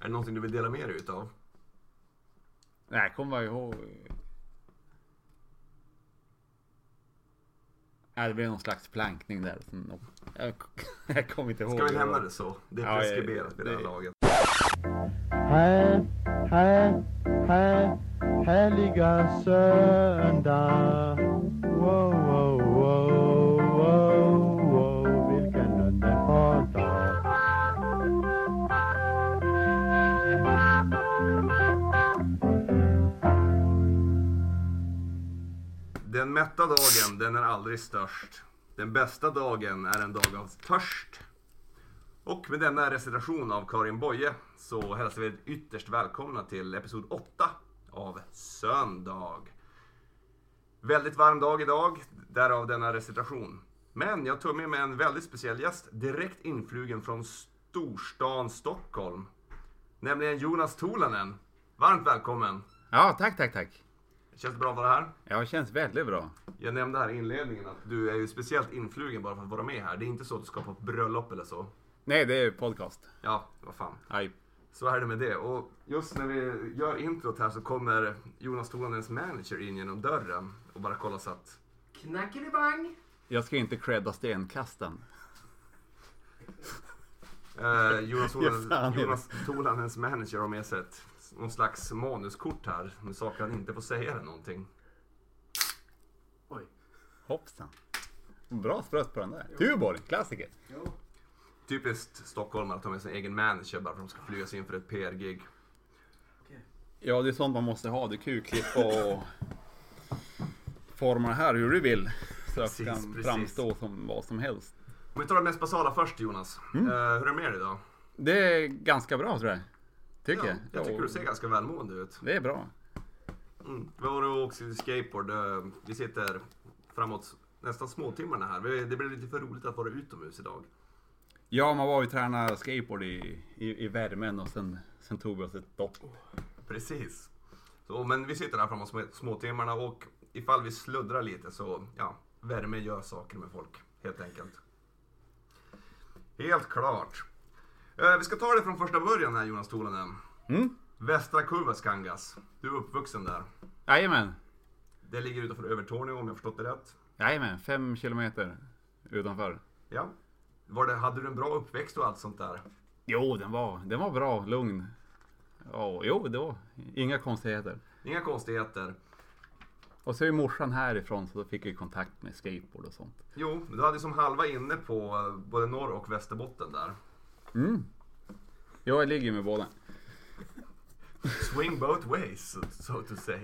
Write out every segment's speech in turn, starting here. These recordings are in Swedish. Är det någonting du vill dela med dig utav? Nej, kom bara ihåg. Ja, det blev någon slags plankning där. som- Jag, jag kommer inte ihåg. Ska vi nämna det så? Det är Ja, preskriberat vid det här det- laget. Här, här, här, härliga söndag. Wow, wow, wow, wow, wow, vilken underbar dag. Den mätta dagen, den är aldrig störst. Den bästa dagen är en dag av törst. Och med denna recitation av Karin Boye så hälsar vi er ytterst välkomna till episod 8 av Söndag. Väldigt varm dag idag, därav denna recitation. Men jag tog med mig en väldigt speciell gäst, direkt influgen från storstan Stockholm. Nämligen Jonas Tolanen. Varmt välkommen! Ja, tack, tack, tack. Känns det bra att vara här? Ja, känns väldigt bra. Jag nämnde här i inledningen att du är ju speciellt influgen bara för att vara med här. Det är inte så att du ska på ett bröllop eller så. Nej, det är podcast. Ja, vad fan. Aj. Så är det med det. Och just när vi gör introt här så kommer Jonas Tolanens manager in genom dörren och bara kollar så att... Knackelibang! Jag ska inte credda stenkastan. Eh, Jonas, Ja, fan. Tolan, Jonas Tolanens manager har med sig ett, någon slags manuskort här med saker han inte får säga eller någonting. Oj. Hoppsan. Bra sprött på den där. Tuborg, klassiker. Jo. Typiskt stockholmare att ta med sin egen manager bara för att de ska flygas in för ett PR-gig. Okej. Ja, det är sånt man måste ha. Det är kuklipp och forma det här hur du vill. Så jag Precis, kan precis. framstå som vad som helst. Om vi tar det mest basala först Jonas. Eh, hur är det med dig idag? Det är ganska bra tror jag. Tycker Ja, jag tycker Och du ser ganska välmående ut. Det är bra. Mm. Vi var och åkte skateboard. eh, Vi sitter framåt nästan småtimmarna här. Vi- Det blev lite för roligt att vara utomhus idag. Ja, man var ju tränade skateboard i, i, i värmen och sen, sen tog vi oss ett dopp. Precis. Så, men vi sitter här framåt små- småtimmarna och ifall vi sluddrar lite så, ja, värme gör saker med folk helt enkelt. Helt klart. Eh, Vi ska ta det från första början här Jonas Tolanen. Mm. Västra Kurvaskangas. Du är uppvuxen där. Jajamän, Det ligger utanför Övertorneå om jag förstått det rätt. jajamän, fem kilometer utanför. Ja. Var det, hade du en bra uppväxt och allt sånt där? Jo, den var, den var bra, lugn. Ja, jo, det var inga konstigheter. Inga konstigheter. Och så är ju morsan härifrån så då fick jag ju kontakt med skateboard och sånt. Jo, du hade som halva inne på eh, både norr och västerbotten där. Mm. Ja, jag ligger med båda. Swing both ways, so to say.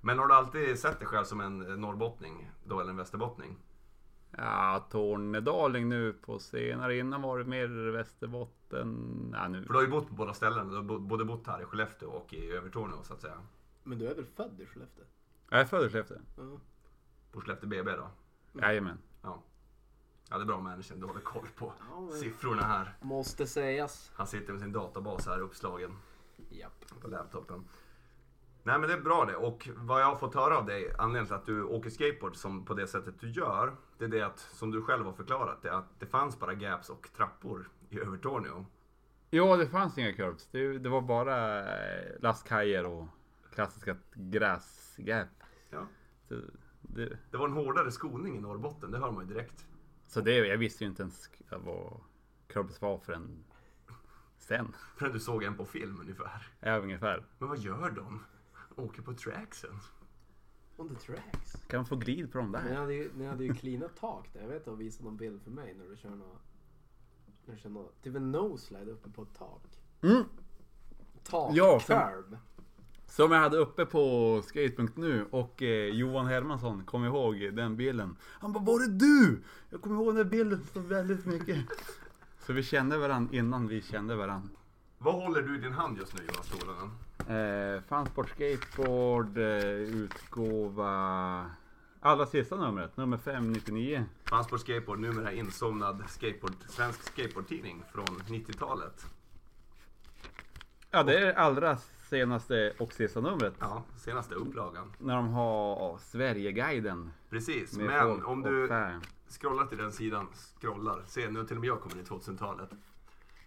Men har du alltid sett dig själv som en eh, norrbottning då, eller en västerbottning? Ja, Tornedaling nu på senare. Innan var det mer Västerbotten. Ja, nu. För du har ju bott på båda ställen. Du har bo- både bott här i Skellefteå och i Övertorneå så att säga. Men du är väl född i Skellefteå? Jag är född i Skellefteå. Ja. På Skellefteå BB då. Jajamän. Ja. Ja, det är bra manager. Du håller koll på Ja, men- siffrorna här. Måste sägas. Han sitter med sin databas här uppslagen. Japp. på laptopen. Nej men det är bra det och vad jag har fått höra av dig, anledningen till att du åker skateboard som på det sättet du gör, det är det att, som du själv har förklarat, det är att det fanns bara gaps och trappor i Övertorneå. Ja, det fanns inga curbs. Det, det var bara eh, lastkajer och klassiska gräsgap. Ja. Så det, Det var en hårdare skolning i Norrbotten, det hör man ju direkt. så det, jag visste ju inte ens vad curbs var förrän sen. Förrän du såg en på film ungefär. Ja, ungefär. Men vad gör de? Åker på tracksen? On the tracks. Kan man få glid på de Ni där? hade ju, ni hade ju cleana tak där. Jag vet att du har visat någon bild för mig när du kör något... När du kör något... Typ en noseslide uppe på ett tak. Mm. Tak. Ja, sen- curb. Som jag hade uppe på skate.nu och eh, Johan Hermansson, kom ihåg den bilden. Han bara, var det du? Jag kommer ihåg den där bilden så väldigt mycket. Så vi kände varandra innan vi kände varandra. Vad håller du i din hand just nu Jonas Tolanen? Eh, Fansport Skateboard, eh, utgåva... Allra sista numret, nummer 599. Fansport Skateboard, numera insomnad skateboard, svensk skateboardtidning från 90-talet. Ja, det är allra senaste och sista numret. Ja, senaste upplagan. När de har Sverigeguiden. Precis, med men folk om och du fä. Scrollar till den sidan, scrollar. Se, nu har till och med jag kommit in i 2000-talet.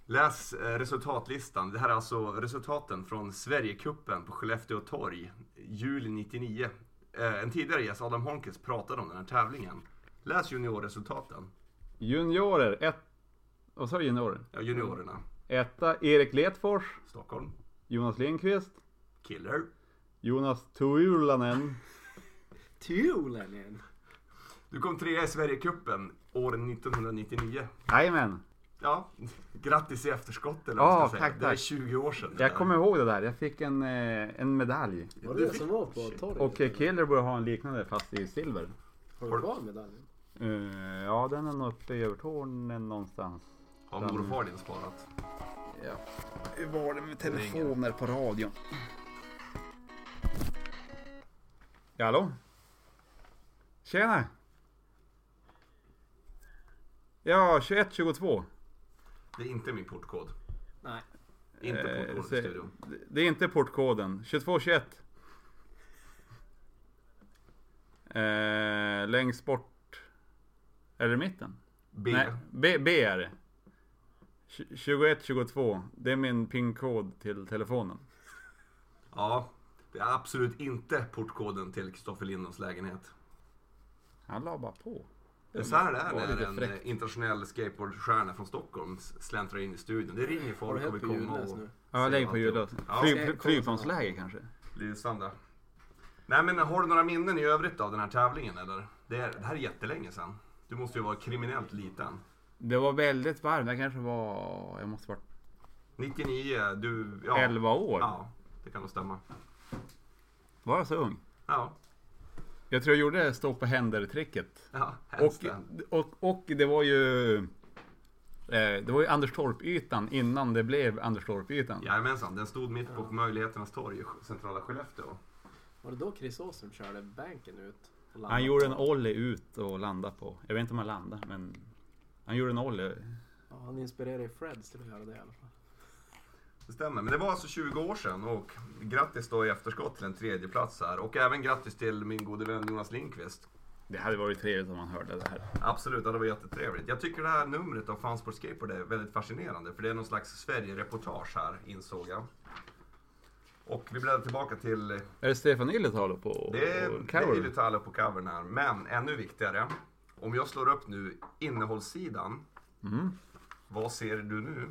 Läs eh, resultatlistan. Det här är alltså resultaten från Sverigecupen på Skellefteå torg, juli 99. Eh, En tidigare gäst, Adam Holmqvist, pratade om den här tävlingen. Läs juniorresultaten. Juniorer, ett... Vad sa du juniorer? Ja, juniorerna. Etta, Erik Letfors, Stockholm. Jonas Lindqvist, Killer. Jonas Tuulanen. Tulen igen. Du kom trea i Sverigecupen år 1999. Jajamän, Ja, grattis i efterskott eller Ja, vad man ska säga. tack, det är tack. 20 år sedan. jag kommer ihåg det där. Jag fick en, eh, en medalj. Var det det som var på torget? Och eh, Killer borde ha en liknande fast i silver. Har du kvar medaljen? Eh, ja, den är nog uppe i Övertornen någonstans. Har mor och far din sparat? Ja. Hur var det med telefoner på radion? Ja, hallå? Tjena! Ja, 2122. Det är inte min portkod. Nej. Inte Eh, portkoden så- till studion. det- Det är inte portkoden. 2221. Eh, längst bort. Är det mitten? B. Nej, B, B är det. 2122. Det är min pinkod till telefonen. Ja, det är absolut inte portkoden till Kristoffer Lindons lägenhet. Han la bara på. Så här är var det lite när en fräckt. eh, internationell skateboardstjärna från Stockholm s- släntrar in i studion. Det ringer Har du folk och hällt vi på kommer ljudlös och... nu? Ja, jag lägger på alltihop. ljudlöst. Ja. Ska Flyg, jag flygplansläge kanske? Lysande. Nej men har du några minnen i övrigt av den här tävlingen eller? Det, är, det här är jättelänge sedan. Du måste ju vara kriminellt liten. Det var väldigt varmt. Jag kanske var... Jag måste varit 99, du... Ja. 11 år. Ja, det kan nog stämma. Var jag så ung? Ja, Jag tror jag gjorde stå på händer-tricket. ja Och, handstand. och, och det var ju... eh, Det var ju Anders Torp-ytan innan det blev Anders Torp-ytan. Jajamensan, den stod mitt på Möjligheternas torg i centrala Skellefteå. Var det då Chris som körde banken ut? och landade Han gjorde en på- ollie ut och landade på... Jag vet inte om han landade, men... Han gjorde en ollie. Ja, han inspirerade Freds till att göra det i alla fall. Det stämmer, men det var alltså 20 år sedan och grattis då i efterskott till en tredje plats här och även grattis till min gode vän Jonas Lindqvist. Det hade varit trevligt om man hörde det här. Absolut, ja, det var jättetrevligt. Jag tycker det här numret av Fansport Skateboard är väldigt fascinerande för det är någon slags Sverige-reportage här insåg jag. Och vi bläddrar tillbaka till Är det Stefan Illetalo på Det är, det är Carol? Ilitalo på covern här, men ännu viktigare. Om jag slår upp nu innehållssidan. Mm. Vad ser du nu?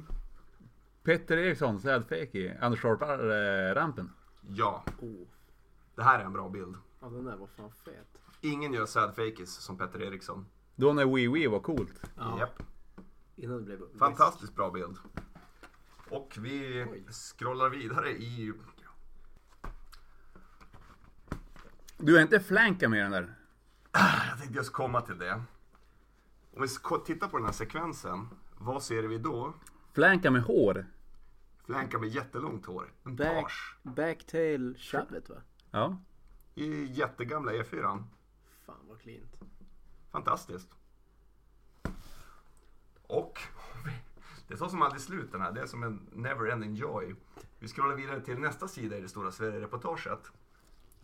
Petter Eriksson, Sad Feki, Anders Torp-rampen. Ja, Oh. det här är en bra bild. Ja, den där var fan fet. Ingen gör sad fakes som Petter Eriksson. Då när Wee Wee var coolt. Ja. Japp. Innan det blev... Fantastiskt bra bild. Och vi Oj. scrollar vidare i... Du är inte flanka med den där? Jag tänkte just komma till det. Om vi sk- tittar på den här sekvensen. Vad ser vi då? Flanka med hår? Flanka med jättelångt hår. En Back- page. Backtail shubbet va? Ja. I jättegamla E E4. Fan vad cleant. Fantastiskt. Och det tar som aldrig slut den här. Det är som en never ending joy. Vi scrollar vidare till nästa sida i det stora Sverige-reportaget.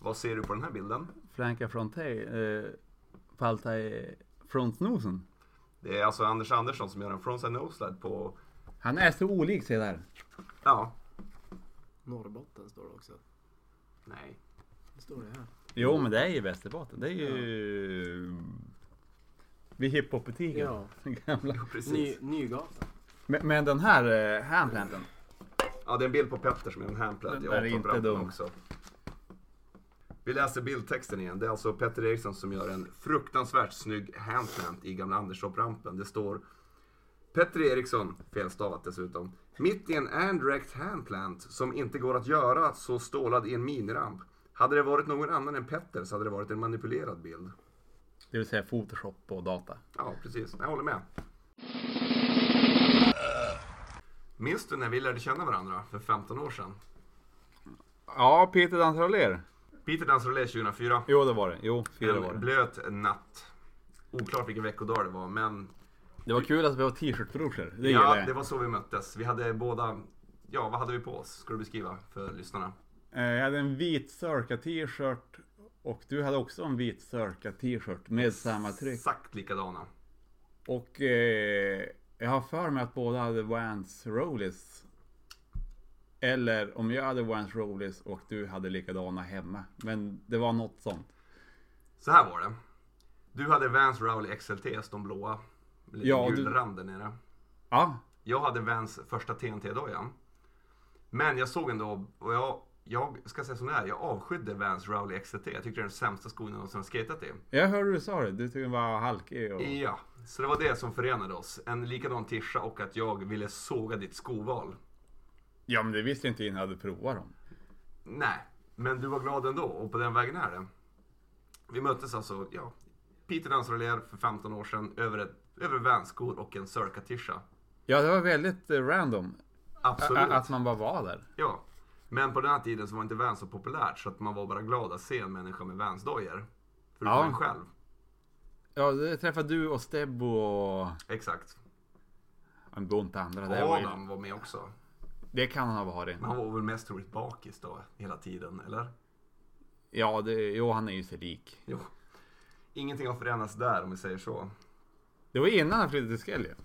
Vad ser du på den här bilden? Flanka frontai... Eh, palta i frontnosen. Det är alltså Anders Andersson som gör en frontside noseslide på... Han är så olik sig där. Ja. Norrbotten står det också. Nej. Det står det här. Jo men det är ju Västerbotten. Det är ju... Vid hiphopbutiken. Ja. Den gamla. Precis. Ny, Nygatan. Men, men den här eh, handplanten. Ja, det är en bild på Petter som är en handplant Den i där är inte 18 dum. också. Vi läser bildtexten igen. Det är alltså Petter Eriksson som gör en fruktansvärt snygg handplant i Gamla Anderstorp-rampen. Det står Petter Eriksson, felstavat dessutom, mitt i en indirect handplant som inte går att göra så stålad i en miniramp. Hade det varit någon annan än Petter så hade det varit en manipulerad bild. Det vill säga photoshop och data. Ja, precis. Jag håller med. Minns du när vi lärde känna varandra för 15 år sedan? Ja, Peter dansar och ler. Peter dansar och ler 2004. Jo det var det. Jo, fyra var En det. blöt natt. Oklart vilken veckodag det var, men Det var kul att vi var t-shirtbrorsor. Det gillar ja, jag. det var så vi möttes. Vi hade båda, ja vad hade vi på oss? Ska du beskriva för lyssnarna? Eh, Jag hade en vit Circa t-shirt och du hade också en vit Circa t-shirt med samma tryck. Exakt likadana. Och eh, Jag har för mig att båda hade Vans Rollies. Eller om jag hade Vans Rollies och du hade likadana hemma. Men det var något sånt. Så här var det. Du hade Vans Rowley XLTs, de blåa. Lite Ja, gul du- rand där nere. Ja, Jag hade Vans första TNT-dojan. Men jag såg ändå, och jag, jag ska säga som det är, jag avskydde Vans Rowley XLT. Jag tyckte det är den sämsta skon jag någonsin har skatat i. jag hörde du sa det. Du tyckte den var halkig och... Ja, så det var det som förenade oss. En likadan tisha och att jag ville såga ditt skoval. Ja, men det visste inte innan jag hade provat dem. Nej, men du var glad ändå och på den vägen är det. Vi möttes alltså, ja, Peter Dansrollier för 15 år sedan över, ett, över Vans-skor och en Circa-tisha. Ja, det var väldigt eh, random. Absolut. Ä- Att man bara var där. Ja. Men på den här tiden så var inte Vans så populärt så att man var bara glad att se en människa med Vans-dojor. Förutom Ja. en själv. Ja, det träffade du och Stebbo och... Exakt. En bunt andra. Det, var ju... Adam var med också. det kan han ha varit. Men han var väl mest troligt bakis då, hela tiden, eller? Ja, det... jo, han är ju sig lik. Jo. Ingenting har förändrats där om vi säger så. Det var innan han flyttade till Skellefteå.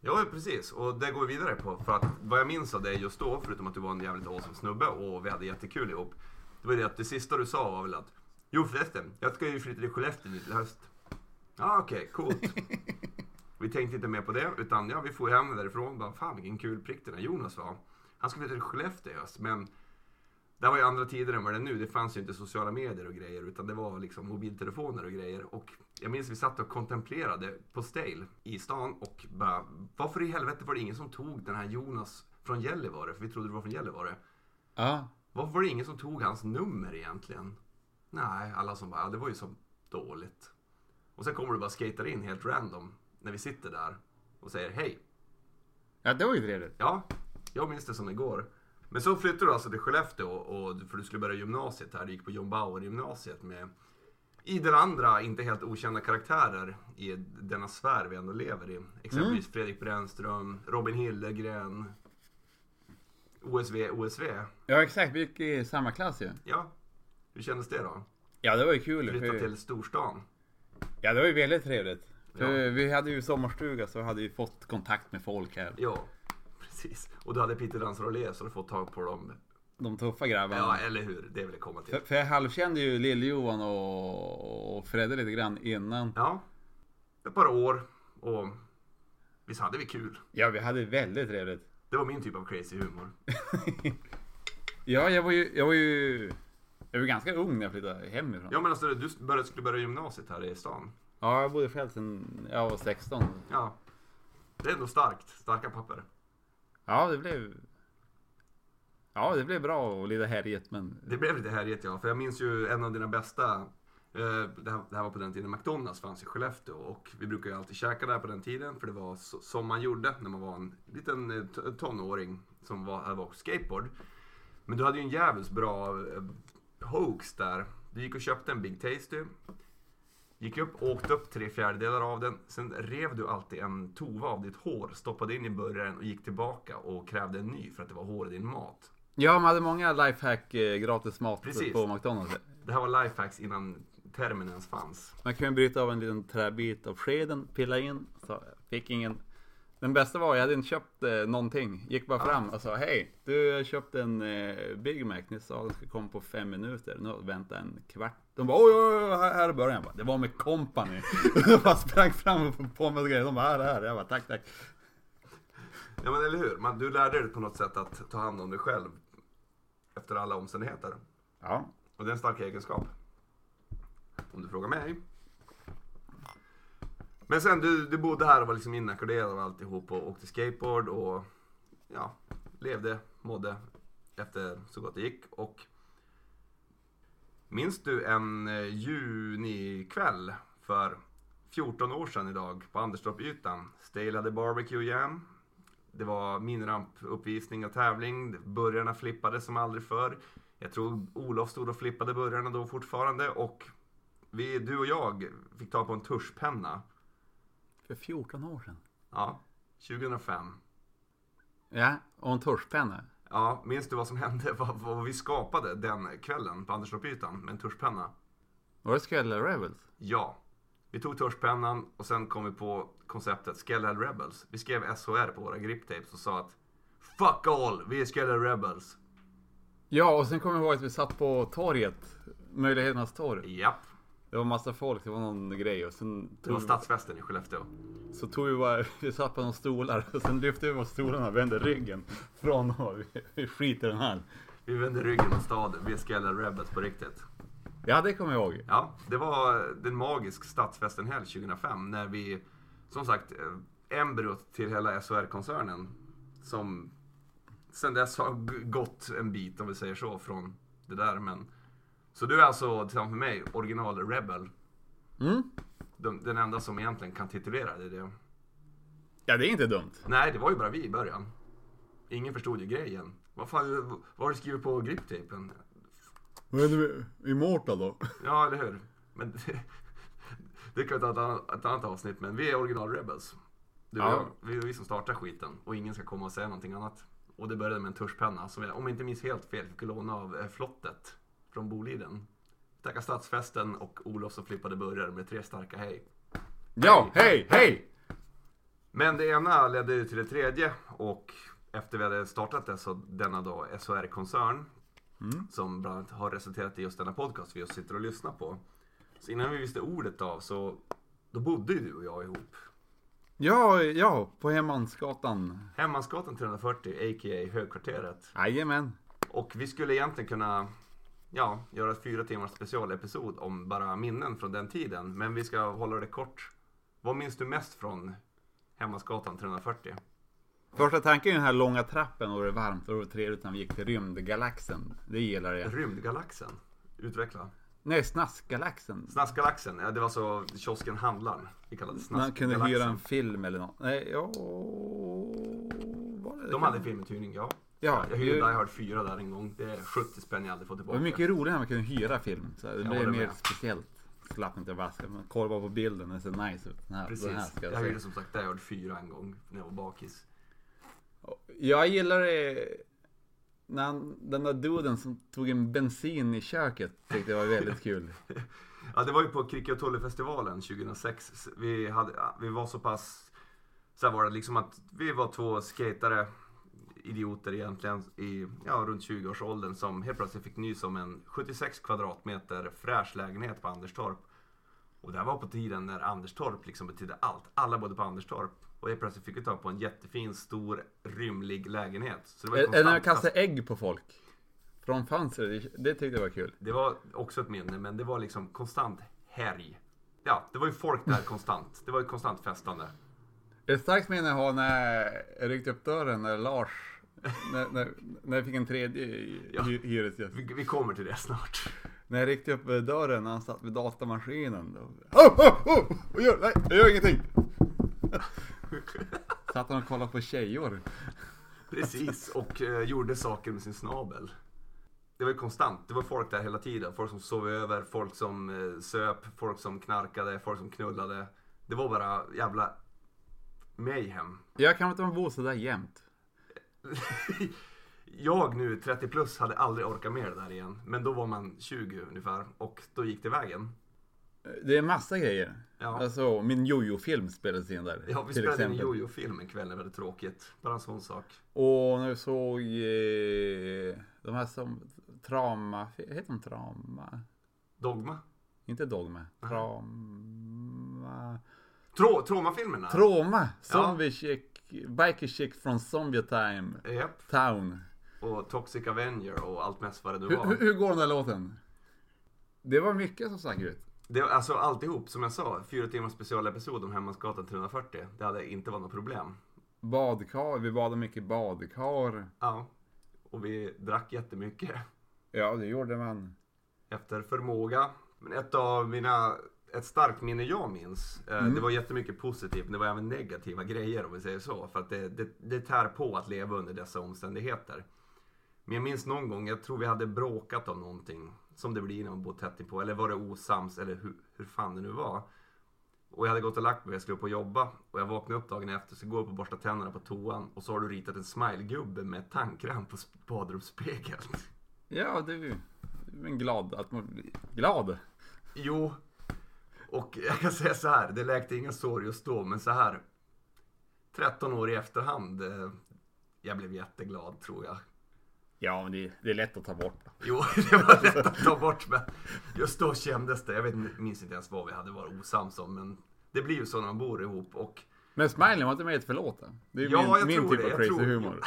Ja, precis. Och det går vi vidare på. För att vad jag minns av dig just då, förutom att du var en jävligt awesome snubbe och vi hade jättekul ihop. Det var det att det sista du sa var väl att Jo förresten, jag ska ju flytta till Skellefteå nu till höst. Ja, ah, okej, coolt. Vi tänkte inte mer på det, utan ja, vi får hem därifrån. Bara, Fan vilken kul prick den här Jonas var. Han skulle flytta till Skellefteå i höst, men det var ju andra tider än vad det är nu. Det fanns ju inte sociala medier och grejer, utan det var liksom mobiltelefoner och grejer. Och jag minns vi satt och kontemplerade på Stale i stan och bara, varför i helvete var det ingen som tog den här Jonas från Gällivare? För vi trodde det var från Gällivare. Ja. Varför var det ingen som tog hans nummer egentligen? Nej, alla som bara, "Ja, det var ju så dåligt. Och sen kommer du bara skater in helt random när vi sitter där och säger hej. ja, det var ju trevligt. Ja, jag minns det som igår. Men så flyttade du alltså till Skellefteå och, för du skulle börja gymnasiet här. Du gick på John Bauer-gymnasiet med idel andra, inte helt okända karaktärer i denna sfär vi ändå lever i. Exempelvis Mm. Fredrik Brännström, Robin Hillegren, OSV, OSV. Ja, exakt. Vi gick i samma klass ju. Ja, hur kändes det då? Ja, det var ju kul. Flytta för- till storstan. Ja, det var ju väldigt trevligt. För Vi hade ju sommarstuga så vi hade ju fått kontakt med folk här. Ja, precis. Och du hade Peter Danser och Le så du fått tag på dem. De tuffa grabbarna. Ja, eller hur? Det vill jag komma till. För, för jag halvkände ju Lill-Johan och, och Fredde lite grann innan. Ja, ett par år och visst hade vi kul. Ja, vi hade väldigt trevligt. Det var min typ av crazy humor. Ja, jag var ju... Jag var ju jag var ganska ung när jag flyttade hemifrån. Ja men alltså du började, skulle börja gymnasiet här i stan. Ja, jag bodde själv sedan jag var 16. Ja. Det är ändå starkt. Starka papper. Ja, det blev... Ja, det blev bra och lite härjigt men... Det blev lite härligt ja, för jag minns ju en av dina bästa eh, det här, det här var på den tiden McDonalds fanns i Skellefteå och vi brukade ju alltid käka där på den tiden för det var så, som man gjorde när man var en liten eh, t- tonåring som var, hade åkt skateboard. Men du hade ju en jävligt bra eh, hoax där. Du gick och köpte en Big Tasty, gick upp, åkte upp tre fjärdedelar av den, sen rev du alltid en tova av ditt hår, stoppade in i burgaren och gick tillbaka och krävde en ny för att det var hår i din mat. Ja, man hade många lifehack eh, gratis mat Precis. på McDonalds. Det här var lifehacks innan termen ens fanns. Man kunde bryta av en liten träbit av skeden, pilla in, så fick ingen. Den bästa var, jag hade inte köpt eh, någonting. Gick bara fram och sa hej, du jag köpte en eh, Big Mac. Ni sa att den skulle komma på fem minuter. Nu har jag väntat en kvart. De bara oj, oj, oj här här är början. Jag bara, det var med company. jag bara sprang fram och fick på mig grejer. De bara här, här. Jag bara tack, tack. Ja men eller hur, man, du lärde dig på något sätt att ta hand om dig själv efter alla omständigheter. Ja, Och det är en stark egenskap. Om du frågar mig. Men sen du, du bodde här och var liksom inackorderad av alltihop och åkte skateboard och ja, levde, mådde efter så gott det gick. Och minns du en eh, junikväll för 14 år sedan idag på Anderstorpytan? Stale hade barbecue jam. Det var minirampuppvisning och tävling. Burgarna flippade som aldrig förr. Jag tror Olof stod och flippade burgarna då fortfarande och vi, du och jag fick ta på en tuschpenna. för 14 år sedan. Ja, 2005. Ja, och en tuschpenna. Ja, minns du vad som hände? Vad, vad vi skapade den kvällen på Anderstorpytan med en tuschpenna? Var det Skellefteå Rebels? Ja. Vi tog tuschpennan och sen kom vi på konceptet Skellhead Rebels. Vi skrev SHR på våra griptapes och sa att Fuck all, vi är Skellhead Rebels. Ja, och sen kommer jag ihåg att vi satt på torget. Möjligheternas torg. Japp. Det var massa folk, det var någon grej och sen Det var tog, stadsfesten i Skellefteå. så tog vi bara, vi satt på några stolar och sen lyfte vi på stolarna och vände ryggen från och vi, vi skiter i den här. Vi vände ryggen mot staden, vi är Skellhead Rebels på riktigt. Ja, det kommer jag ihåg. Ja, det var den magisk stadsfesten-helg 2005 när vi, som sagt, eh, embryot till hela SHR-koncernen som sen dess har g- gått en bit, om vi säger så, från det där. Men... Så du är alltså, tillsammans med mig, original Rebel. Mm. Den, den enda som egentligen kan titulera dig det. Ja, det är inte dumt. Nej, det var ju bara vi i början. Ingen förstod ju grejen. Vad fan, vad har du skrivit på griptapen? Vad är det med Immortal då? Ja, eller hur? Men det, det kan vi ta ett annat, ett annat avsnitt, men vi är original rebels. Du och Ja. jag, vi är vi som startar skiten och ingen ska komma och säga någonting annat. Och det började med en tuschpenna som jag, om jag inte minns helt fel, fick låna av eh, Flottet från Boliden. Tacka stadsfesten och Olof som flippade burgare med tre starka hej. Ja, hej, hej! Men det ena ledde ju till det tredje och efter vi hade startat det så denna då SHR-koncern som bland annat har resulterat i just denna podcast vi just sitter och lyssnar på. Så innan vi visste ordet av så då bodde ju du och jag ihop. Ja, ja, på Hemmansgatan. Hemmansgatan 340 a.k.a. Högkvarteret. Jajamän. Och vi skulle egentligen kunna ja, göra ett fyra timmars specialepisod om bara minnen från den tiden. Men vi ska hålla det kort. Vad minns du mest från Hemmansgatan 340? Första tanken är den här långa trappen och det är varmt och det var trevligt när vi gick till rymdgalaxen. Det gillar jag. Rymdgalaxen? Utveckla. Nej, snaskgalaxen. Snaskgalaxen, ja, det var så kiosken Handlaren. Vi kallade det Man kunde Snaskgalaxen. hyra en film eller något. Nej, ja... Var det De hade filmuthyrning, ja. Ja, jag hyrde det- Die Hard 4 där en gång. Det är 70 spänn jag aldrig får Det tillbaka. var mycket roligare när man kunde hyra film. Så det håller blev mer med. speciellt. Slapp inte vaska, men kolla bara på bilden, den ser nice ut. Den här, Den här Precis. ska Jag, jag se. hyrde som sagt Die Hard 4 en gång när jag var bakis. Jag gillar det när han, den där duden som tog en bensin i köket tyckte jag var väldigt kul. Ja, det var ju på Kricke och Tolle-festivalen 2006. Vi, hade, ja, vi var så pass... Så här var det liksom att vi var två skatare, idioter egentligen, i ja, runt 20-årsåldern som helt plötsligt fick nys om en 76 kvadratmeter fräsch lägenhet på Anderstorp. Och det här var på tiden när Anderstorp liksom betydde allt. Alla bodde på Anderstorp. Och helt plötsligt fick vi tag på en jättefin, stor, rymlig lägenhet. Så det var ju Eller när han konstant kastade ägg på folk. Från fönstret, det- det tyckte jag var kul. Det var också ett minne, men det var liksom konstant härj. Ja, det var ju folk där konstant. Det var ju konstant festande. Ett starkt minne jag har när jag ryckte upp dörren när Lars, när, när, när jag fick en tredje hy- Ja. hyresgäst. Vi, vi kommer till det snart. När jag ryckte upp dörren när han satt vid datamaskinen. Då, oh, oh, oh! Vad gör, nej, jag gör ingenting! Satt han och kollade på tjejor. Precis, och eh, gjorde saker med sin snabel. Det var ju konstant. Det var folk där hela tiden. Folk som sov över, folk som eh, söp, folk som knarkade, folk som knullade. Det var bara jävla mayhem. Jag kan inte man bor sådär jämt. Jag nu 30 plus hade aldrig orkat med det där igen. Men då var man 20 ungefär och då gick det vägen. Det är massa grejer. Ja. Alltså, min jojo-film spelades in där. Ja, vi spelade in en jojo-film en kväll, det var väldigt tråkigt. Bara en sån sak. Och när vi såg eh, de här som Trama, heter de Trama? Dogma? Inte Dogma, Trama. Trå, Troma-filmerna? Troma, Zombie Ja. Chick, Biker Chick från Zombie Time Japp. Town. Och Toxic Avenger och allt mest vad det nu Hur, hur, var. hur går den där låten? Det var mycket som stack ut. Det, var alltså alltihop, som jag sa, fyra timmars specialepisod om Hemmansgatan 340. Det hade inte varit något problem. Badkar, vi badade mycket i badkar. Ja. Och vi drack jättemycket. Ja, det gjorde man. Efter förmåga. Men ett av mina, ett starkt minne jag minns. eh, Det var jättemycket positivt, men det var även negativa grejer om vi säger så. För att det, det, det tär på att leva under dessa omständigheter. Men jag minns någon gång, jag tror vi hade bråkat om någonting. Som det blir när man bor tätt inpå. Eller var det osams, eller hur, hur fan det nu var. Och jag hade gått och lagt mig, jag skulle upp och jobba. Och jag vaknade upp dagen efter, så går jag upp och borstar tänderna på toan. Och så har du ritat en smilegubbe med tandkräm på sp- badrumsspegeln. Ja, det är ju men glad att man blir glad. Jo. Och jag kan säga så här, det läkte ingen sorg just då, men så här 13 år i efterhand. eh, Jag blev jätteglad tror jag. Ja, men det, det är lätt att ta bort. Jo, det var lätt att ta bort, men just då kändes det. Jag vet, inte- minns inte ens vad vi hade varit osams om, men det blir ju så när man bor ihop. Och Men Smiley var inte med i ett förlåta. Det är Ja, jag min, min tror typ det, av jag crazy tror- humor.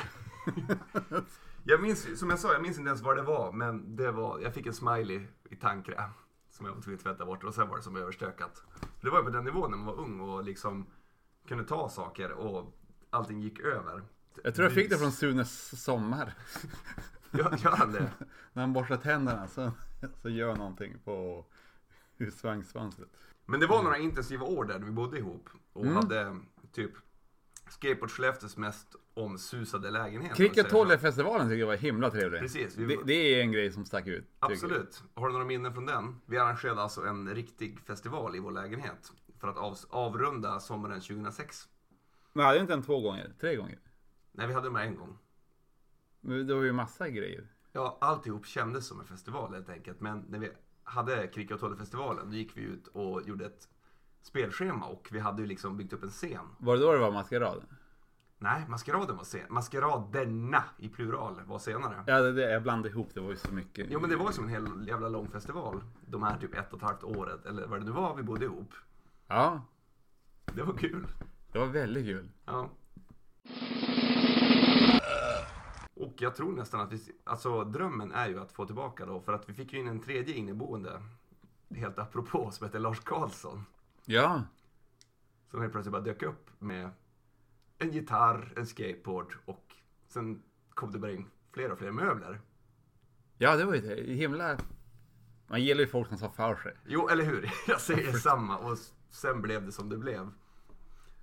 jag minns, som jag sa, jag minns inte ens vad det var, men det var, jag fick en smiley i tandkräm som jag var tvungen att tvätta bort och sen var det som överstökat. Det var ju på den nivån när man var ung och liksom kunde ta saker och allting gick över. Jag tror jag fick det från Sunes sommar. Gör, gör han det? När han borstar tänderna så, så gör han någonting på husvagnssvanset. Men det var några intensiva år där vi bodde ihop och Mm. hade typ Skateboard Skellefteås mest omsusade lägenhet. Cricket om man säger så. festivalen tycker jag var himla trevlig. Precis, vi- Det, det är en grej som stack ut. tycker jag. Absolut. Har du några minnen från den? Vi arrangerade alltså en riktig festival i vår lägenhet för att av, avrunda sommaren 2006. Men hade inte en två gånger? Tre gånger? Nej, vi hade med en gång. Men det var ju massa grejer. Ja, alltihop kändes som en festival helt enkelt. Men när vi hade Kricka och Tolle-festivalen, då gick vi ut och gjorde ett spelschema och vi hade ju liksom byggt upp en scen. Var det då det var maskerad? Nej, maskeraden var sen. Maskeraderna i plural var senare. Ja, det, det, jag blandade ihop. Det var ju så mycket. Jo men det var ju som en hel jävla lång festival. De här typ ett och ett halvt året eller vad det nu var vi bodde ihop. Ja, Det var kul. det var väldigt kul. Ja. Och jag tror nästan att vi, alltså drömmen är ju att få tillbaka då för att vi fick ju in en tredje inneboende. Helt apropå som heter Lars Karlsson. Ja, Som helt plötsligt bara dök upp med en gitarr, en skateboard och sen kom det bara in fler och fler möbler. ja det var ju det. Himla... Man gillar ju folk som sa för sig. Jo, eller hur? Jag säger samma. Och sen blev det som det blev.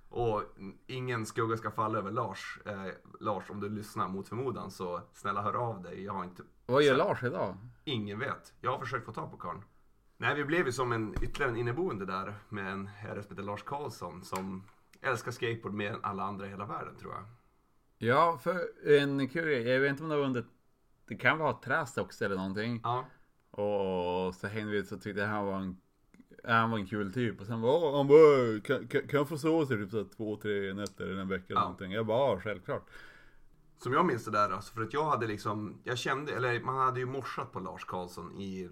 Och ingen skugga ska falla över Lars. Eh, Lars, om du lyssnar mot förmodan så snälla hör av dig. Jag har inte... Vad gör Lars idag? Ingen vet. Jag har försökt få tag på karln. Nej, vi blev ju som en ytterligare en inneboende där med en herre som heter Lars Karlsson som älskar skateboard mer än alla andra i hela världen tror jag. Ja, för en kul grej. Jag vet inte om det var under... Det kan vara träst också eller någonting. Ja, Och så hängde vi så tyckte jag han var en, han var en kul typ. Och sen var "Åh, han bara, kan, kan, kan jag få sova hos er typ så här två, tre nätter eller en vecka eller Ja. någonting? Jag bara, "Ja, självklart. Som jag minns det där, alltså, för att jag hade liksom, jag kände, eller man hade ju morsat på Lars Karlsson i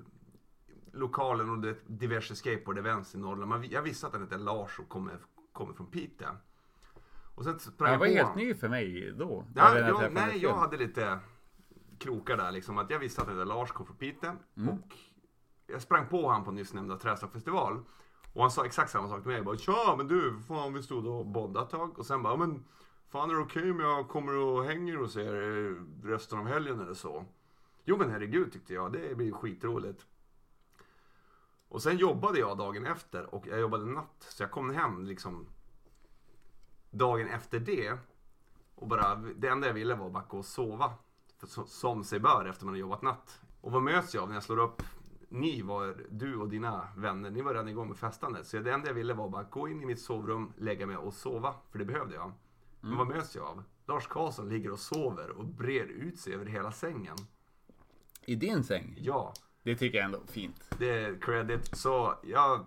lokalen och det, diverse skateboard-events i Norrland. Man, jag visste att han hette Lars och kommer, kommer från Piteå. Och sen sprang Han var jag på helt honom. ny för mig då. Ja, Eller när jag, träffade nej, honom jag själv. hade lite krokar där liksom. Att jag visste att den där Lars kom från Piteå. Och jag sprang på han på nyss nämnda Träslagfestival. Och han sa exakt samma sak till mig. Jag bara, Tja, men du, fan vi stod och bondade ett tag. Och sen bara, "Ja, men fan är det okej om jag kommer och hänger hos er eh, resten av helgen eller så? Jo men herregud tyckte jag, det blir ju skitroligt. Och sen jobbade jag dagen efter och jag jobbade natt. Så jag kom hem liksom dagen efter det. Och bara, det enda jag ville var bara gå och sova. För, så- som sig bör efter man har jobbat natt. Och vad möts jag av när jag slår upp? Ni var, du och dina vänner, ni var redan igång med festandet. Så det enda jag ville var bara gå in i mitt sovrum, lägga mig och sova. För det behövde jag. Men vad möts jag av? Lars Karlsson ligger och sover och brer ut sig över hela sängen. I din säng? Ja, Det tycker jag ändå är fint. det är credit. Så jag,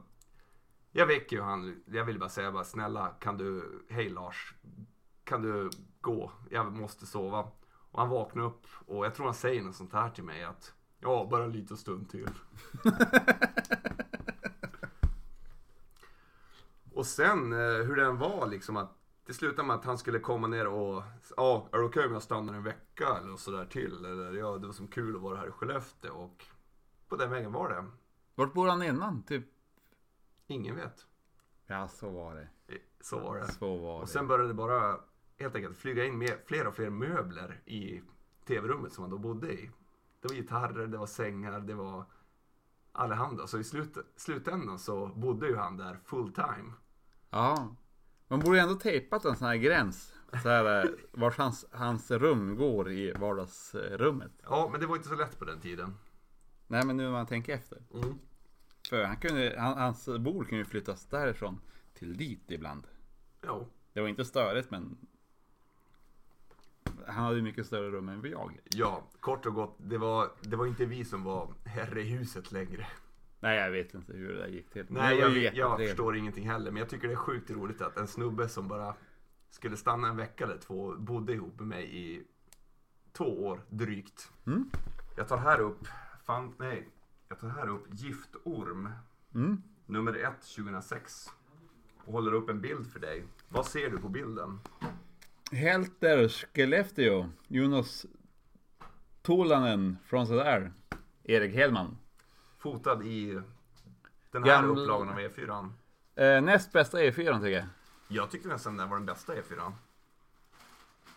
jag väcker ju han. Jag vill bara säga bara snälla kan du, hej Lars, kan du gå? Jag måste sova. Och han vaknar upp och jag tror han säger något sånt här till mig att ja, bara en liten stund till. och sen eh, hur den var liksom att det slutade med att han skulle komma ner och ja, är det okej om jag stannar en vecka eller sådär till? Eller ja, det var som kul att vara här i Skellefteå och på den vägen var det. Vart bor han innan? Typ? Ingen vet. Ja, så var det. Eh, Så var det. Så var Och det. sen började det bara helt enkelt flyga in mer, fler och fler möbler i tv-rummet som man då bodde i. Det var gitarrer, det var sängar, det var allehanda. Så i slut, slutändan så bodde ju han där full time. Ja. Man borde ju ändå tejpat en sån här gräns. Så här, eh, vart hans, hans rum går i vardagsrummet. Ja, men det var inte så lätt på den tiden. Nej, men nu när man tänker efter. Mm. För han kunde, han, hans bord kunde ju flyttas därifrån till dit ibland. Jo. Det var inte störigt men han hade ju mycket större rum än vad jag. Ja, kort och gott, det var, det var inte vi som var herre i huset längre. Nej, jag vet inte hur det där gick till. Nej, Det var jag, jag, jättetrevligt. förstår ingenting heller. Men jag tycker det är sjukt roligt att en snubbe som bara skulle stanna en vecka eller två bodde ihop med mig i två år drygt. Mm. Jag tar här upp, fan, nej, jag tar här upp Giftorm Mm. nummer ett 2006 och håller upp en bild för dig. Vad ser du på bilden? Helter Skellefteå, Jonas Tolanen från sådär. Erik Hedman. Fotad i den här Gamla- upplagan av E4. Eh, näst bästa E4 tycker jag. Jag tyckte nästan den var den bästa E4.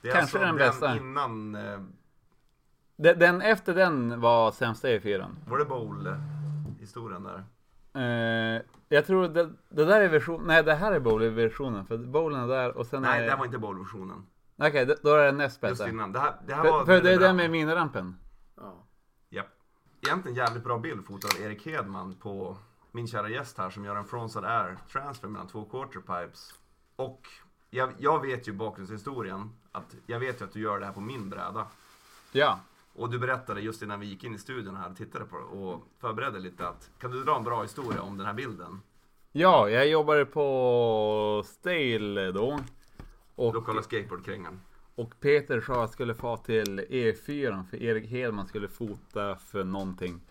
Det är alltså Kanske den bästa. innan, eh, Den, den efter den var sämsta E E4. var det Bowl-historien där? Eh, jag tror det, det där är version, nej det här är bowl-versionen för bowlen är där och sen Nej, är... det här var inte Bowl-versionen. Okej, d- då är det näst Just bästa. innan. Det här, det här För, var för det är bra. den med minirampen. Ja. Japp. Egentligen jävligt bra bild fotad av Erik Hedman på min kära gäst här som gör en frontside air transfer mellan två quarterpipes. Och jag, jag vet ju bakgrundshistorien. Att jag vet ju att du gör det här på min bräda. Ja. Och du berättade just innan vi gick in i studion här och tittade på och förberedde lite att kan du dra en bra historia om den här bilden? Ja, jag jobbade på Stale då. Och, Lokala skateboardkrängan. och Peter sa att jag skulle få till E4 för Erik Hedman skulle fota för någonting.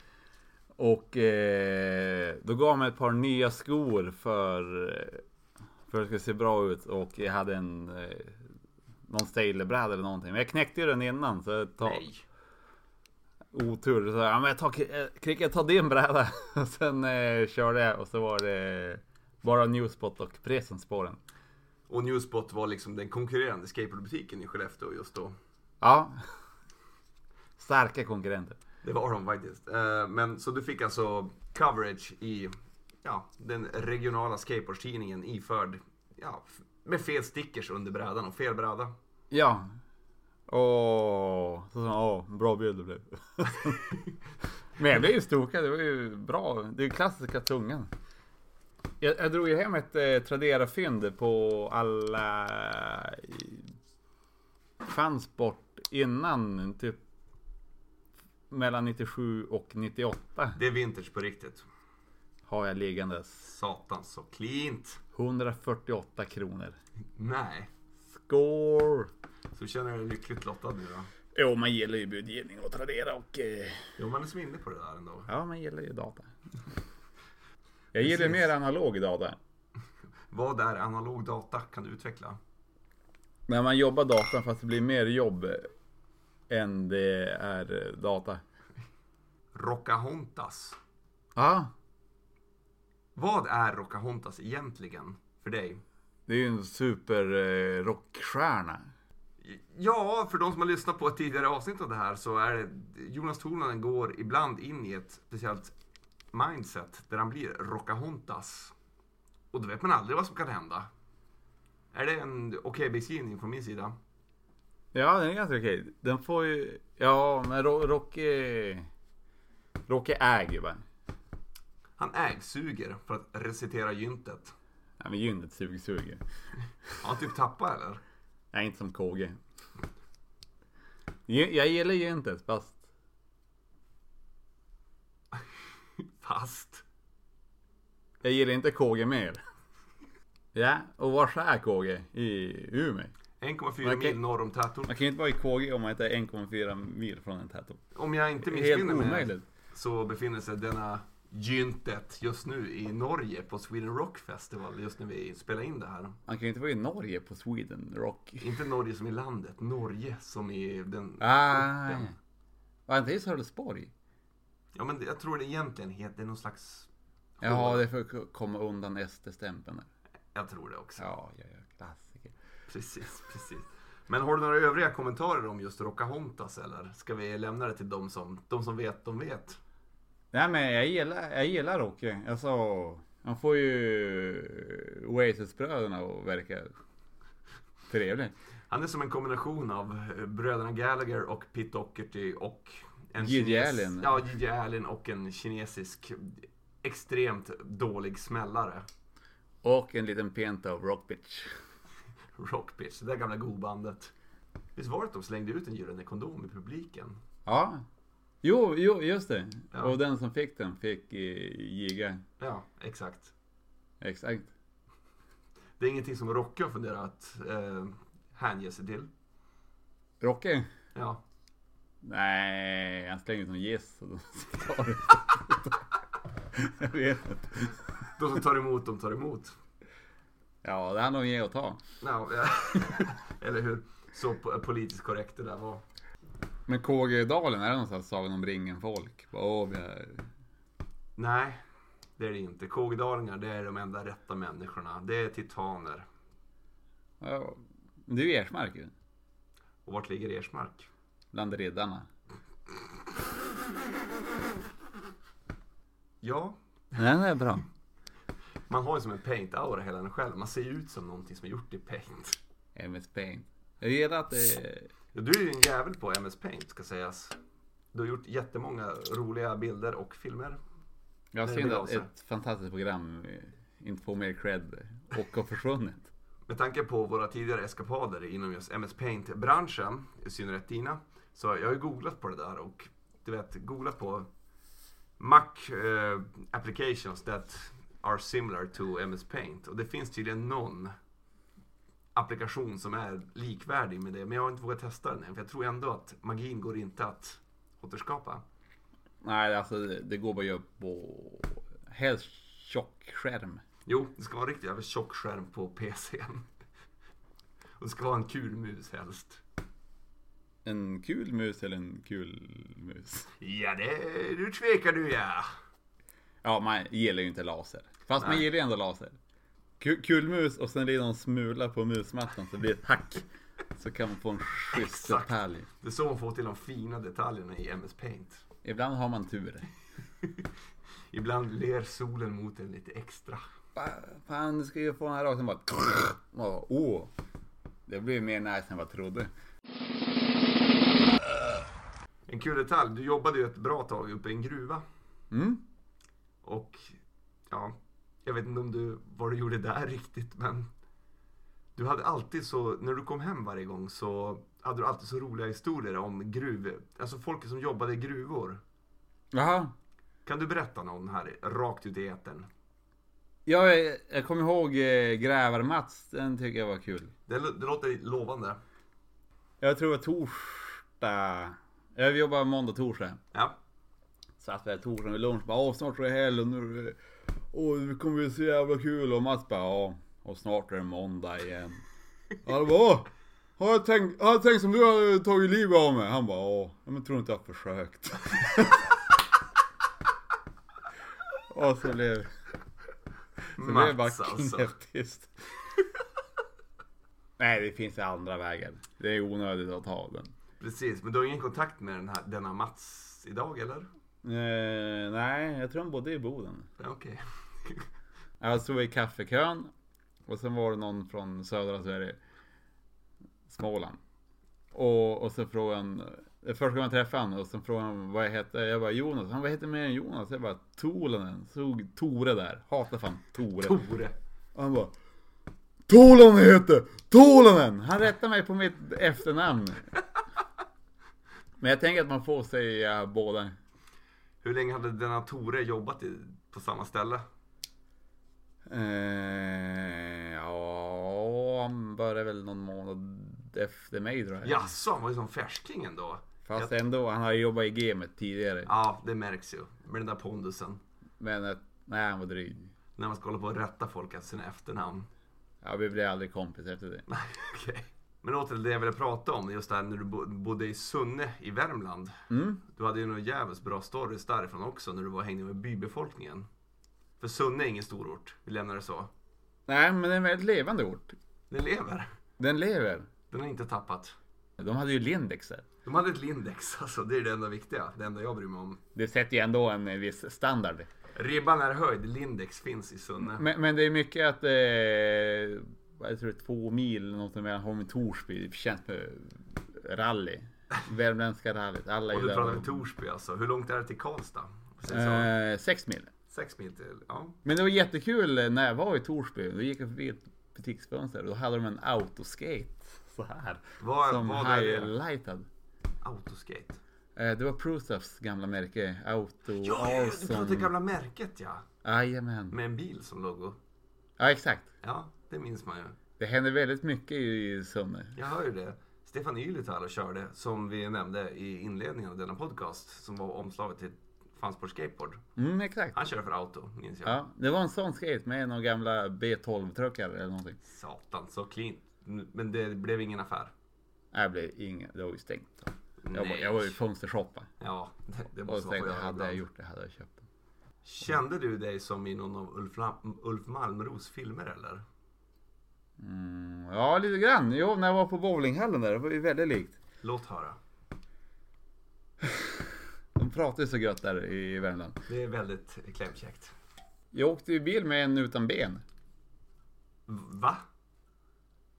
Och eh, då gav han mig ett par nya skor för, eh, för att det skulle se bra ut och jag hade en eh, någon Stale-bräda eller någonting. Men jag knäckte ju den innan så jag tar Nej. otur. Så jag, ja, men jag tar, eh, Kricka, jag tar din bräda. och sen eh, körde jag och så var det bara Newspot och Presen spåren. Och Newspot var liksom den konkurrerande skateboardbutiken i Skellefteå just då. Ja. Starka konkurrenter. Det var de faktiskt. Eh, Men så du fick alltså coverage i ja, den regionala skateboardtidningen iförd ja, f- med fel stickers under brädan och fel bräda. Ja. Åh, så sa åh, bra bild det blev. Men jag blev ju stokad, det var ju bra. Det är ju klassiska tungan. Jag, jag drog ju hem ett eh, Tradera-fynd på alla... i- Fanns bort innan typ mellan 97 och 98 Det är vintage på riktigt. har jag liggandes. Satan så cleant. 148 kronor. Nej. Skål! Så känner jag dig lyckligt lottad nu då. Jo, man gillar ju budgivning och Tradera och... Eh... Jo, man är som inne på det där ändå. Ja, man gillar ju data. Jag gillar ju mer analog data. Vad är analog data? Kan du utveckla? När man jobbar datan fast det blir mer jobb än det är eh, data. Rockahontas. Ja, Vad är Rockahontas egentligen för dig? det är ju en super eh, rockstjärna. Ja, för de som har lyssnat på ett tidigare avsnitt av det här så är det Jonas Tornanen går ibland in i ett speciellt mindset där han blir rockahontas. Och då vet man aldrig vad som kan hända. Är det en okej beskrivning från min sida? Ja, den är ganska okej. Den får ju... Ja, men Ro- Rocky... Rocky äger ju bara. Han ägsuger för att recitera gyntet. Ja, men gynnet sugsuger. Har han typ tappat eller? Nej, inte som KG. Jag jag gillar gyntet fast... Fast. Jag gillar inte KG mer. Ja, och var är KG? I Umeå? 1,4 Okej. mil norr om Tärtorp. Man kan ju inte vara i KG om man inte är 1,4 mil från en tätort. Om jag inte Helt missminner omöjligt. så befinner sig denna gyntet just nu i Norge på Sweden Rock Festival just när vi spelar in det här. Man kan ju inte vara i Norge på Sweden Rock. Inte Norge som i landet, Norge som i den Ah, orten. Var inte i Sölvesborg? Ja men jag tror det egentligen heter någon slags... Jaha, det är för att komma undan SD-stämpeln. Jag tror det också. Ja, ja, ja, klassiker. Precis, precis. Men har du några övriga kommentarer om just Rockahontas eller? Ska vi lämna det till de som, de som vet, de vet? Nej men jag gillar, jag gillar Rocky. Alltså, han får ju Oasis-bröderna att verka trevlig. Han är som en kombination av eh, bröderna Gallagher och Pete Doherty och en Gigi kines- Allen. Ja, Gigi Allen och en kinesisk extremt dålig smällare. Och en liten penta av Rockbitch. Rockbitch, det där gamla godbandet. Visst var det att de slängde ut en gyllene kondom i publiken? Ja, Jo, jo, just det. Ja. Och den som fick den fick eh, giga. Ja, exakt. Exakt. Det är ingenting som Rocke har funderat eh, hänge sig till. Rocke? Ja. Nej, han slänger ut någon gäss och då tar det. Jag vet inte. De som tar emot, de tar emot. Ja, det handlar om att ge och ta. Ja, ja. Eller hur? Så po- politiskt korrekt det där var. Men KG-dalen, är det någonstans Sagan om ringen-folk? Bara, Åh, vi är... Nej, det är det inte. Kågdalingar, det är de enda rätta människorna. Det är titaner. Ja, men det är ju Ersmark ju. Och vart ligger Ersmark? Bland riddarna. Ja, Nej, det är bra. man har ju som en paint-aura hela en själv. Man ser ju ut som någonting som är gjort i paint. MS Paint. Jag gillar att eh, det är... Ja, Du är ju en jävel på MS Paint ska sägas. Du har gjort jättemånga roliga bilder och filmer. Jag Nej, synd det är att bra, ett fantastiskt program eh, inte får mer cred och har försvunnit. Med tanke på våra tidigare eskapader inom just MS Paint-branschen, i synnerhet dina, så jag har ju googlat på det där och du vet, googlat på Mac eh, applications that are similar to MS Paint. Och det finns tydligen någon applikation som är likvärdig med det, men jag har inte vågat testa den än, för jag tror ändå att magin går inte att återskapa. Nej, alltså det, det går bara att göra på helst tjock skärm. Jo, det ska vara en riktigt jävla tjock skärm på PCn. Och det ska vara en kul mus helst. En kul mus eller en kul mus? Ja, det, nu tvekar du ja. Ja, man gillar ju inte laser. Fast man Nej. gillar ju ändå laser. Ku- Kulmus och sen blir det någon smula på musmattan så blir det ett hack. Så kan man få en schysst Exakt. detalj. Det är så man får till de fina detaljerna i MS Paint. Ibland har man tur. Ibland ler solen mot en lite extra. Fa- Fan, nu ska jag få den här rakt. Sen bara... Åh, åh. det blir mer nice än vad jag trodde. En kul detalj, du jobbade ju ett bra tag uppe i en gruva. Mm. Och ja, jag vet inte om du, vad du gjorde där riktigt men. Du hade alltid så, när du kom hem varje gång så hade du alltid så roliga historier om gruv, alltså folk som jobbade i gruvor. Jaha. Kan du berätta någon här rakt ut i etern? Jag, jag kommer ihåg eh, Grävar-Mats. Den tycker jag var kul. Det, lå- det låter lovande. Jag tror det var torsdag. Jag jobbar måndag, torsdag. Ja, Satt vi här torsdagen vid lunch bara åh snart är det helg och nu är det- åh det kommer bli så jävla kul och Mats bara ja och snart är det måndag igen. Han bara åh, har jag tänkt, har jag tänkt som du har tagit livet av mig? Han bara åh, ja, men tror du inte jag har försökt. och så blev så blev det bara Mats alltså. knäpptyst. Nej det finns andra vägar. Det är onödigt att ta den. Precis, men du har ingen kontakt med den här, denna Mats idag eller? Eh, nej, jag tror han bodde i Boden. Ja, Okej. Jag stod i kaffekön och sen var det någon från södra Sverige. Småland. Och, och så frågade han, eh, först gången jag träffade han och sen frågade han vad jag hette. Jag bara Jonas. Han vad heter mer än Jonas? Jag bara Tolonen. Såg Tore där. Hatar fan Tore. Tore. Och han bara Tolonen heter Tolonen! Han rättade mig på mitt efternamn. Men jag tänker att man får säga båda. Hur länge hade denna Tore jobbat i, på samma ställe? Eh, ja, han började väl någon månad efter mig tror jag. Jaså, han var ju som färsking ändå. Fast ändå, han har ju jobbat i gamet tidigare. Ja, det märks ju. Med den där pondusen. Men eh, nej, han var dryg. När man ska hålla på och rätta folk efter sina efternamn. Ja, vi blev aldrig kompis efter det. Nej, okej. Men åter till det jag ville prata om, just det här när du bo- bodde i Sunne i Värmland. Mm. Du hade ju några jävligt bra stories därifrån också när du var och hängde med bybefolkningen. För Sunne är ingen storort, vi lämnar det så. Nej, men det är en väldigt levande ort. Den lever. Den lever. Den har inte tappat. De hade ju Lindex där. De hade ett Lindex, alltså det är det enda viktiga. Det enda jag bryr mig om. Det sätter ju ändå en eh, viss standard. Ribban är höjd, Lindex finns i Sunne. Men, men det är mycket att... Eh, vad jag tror det är två mil eller något mellan Holmen och Torsby. Det känns med rally. Värmländska rallyt. Alla är Och ju du där. pratar med Torsby alltså. Hur långt är det till Karlstad? Precis så. Eh, sex mil. Sex mil till, ja. Men det var jättekul eh, när jag var i Torsby. Då gick jag förbi ett butiksfönster och då hade de en autoskate så här. Vad- som vad är det? highlightad. Autoskate. Eh, Det var Prusafs gamla märke, Auto Ja, ja, du pratar det Awesome. gamla märket ja. Jajamän. Med en bil som logo. Ja, exakt. Ja, det minns man ju. Det händer väldigt mycket i i Sunne. Jag hör ju det. Stefan Ylitalo körde, som vi nämnde i inledningen av denna podcast, som var omslaget till Fanns på skateboard. Mm, exakt. Han körde för auto, minns jag. Ja, det var en sån skate med några gamla B12-truckar eller någonting. Satan, så clean. Men det blev ingen affär. Nej, det blev inget. Det var ju stängt. Jag var, Nej. jag var ju fönstershoppa. Ja, det, det Och måste vara tänkte, på hade jag jag gjort det hade jag köpt den. Kände du dig som i någon av Ulf, Lam- Ulf Malmros filmer eller? Mm, ja, lite grann. Jo, när jag var på bowlinghallen där, det var ju väldigt likt. Låt höra. De pratar ju så gött där i Värmland. Det är väldigt klämkäckt. Jag åkte i bil med en utan ben. Va?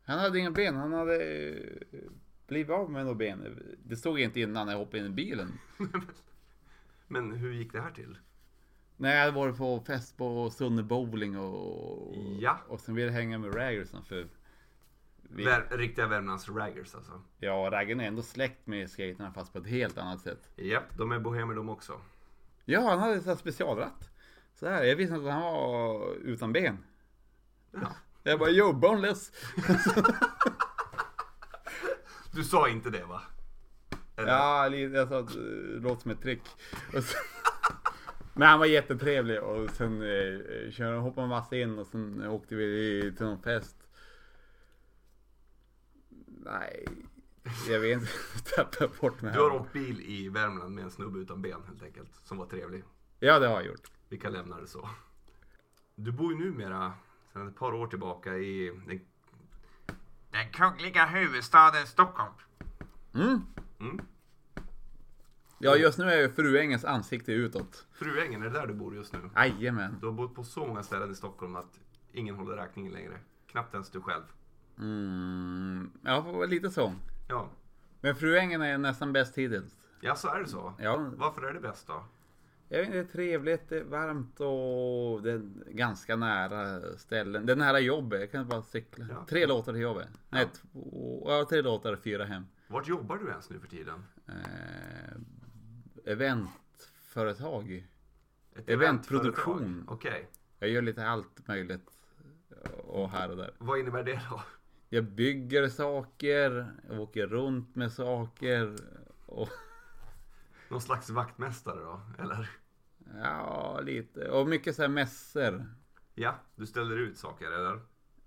Han hade inga ben, han hade eh, blivit av med några ben. Det stod inte innan jag hoppade in i bilen. Men hur gick det här till? Nej, jag hade varit på fest på Sunne Bowling och... Ja. Och sen ville jag hänga med Raggersen för... Vi, Vär, riktiga Värmlands raggers alltså. ja, Raggen är ändå släkt med skaterna fast på ett helt annat sätt. Japp, de är bohemer de också. Ja, han hade så här specialratt. Så här, jag visste inte att han var utan ben. Ja. Jag bara, yo, boneless! Du sa inte det va? Eller? Ja, lite- jag sa att eh, låt som ett trick. Och sen, men han var jättetrevlig och sen eh, körde, hoppade en massa in och sen åkte vi till någon fest. Nej, jag vet inte. Jag Tappade bort mig. Du har här. åkt bil i Värmland med en snubbe utan ben helt enkelt. Som var trevlig. Ja, det har jag gjort. Vi kan lämna det så. Du bor ju numera sedan ett par år tillbaka i den, den kungliga huvudstaden Stockholm. Mm. Mm. Ja, just nu är ju Fruängens ansikte utåt. Fruängen, är det där du bor just nu? Jajamän. Du har bott på så många ställen i Stockholm att ingen håller räkningen längre. Knappt ens du själv. Mm. Ja, lite så. Ja, Men Fruängen är nästan bäst hittills. ja så är det så. Ja, Varför är det bäst då? Jag vet inte, det är trevligt, det är varmt och det är ganska nära ställen. Det är nära jobbet, jag kan bara cykla. Ja. Tre låtar till jobbet. Nej, Ja. två, ja, tre låtar, fyra hem. Vart jobbar du ens nu för tiden? Eh, eventföretag. Ett Eventproduktion. eventföretag. Okej, Jag gör lite allt möjligt. Och här och där. vad innebär det då? Jag bygger saker, jag åker runt med saker. Och, Någon slags vaktmästare då? Eller? ja, lite. Och mycket så här mässor. Ja, du ställer ut saker eller?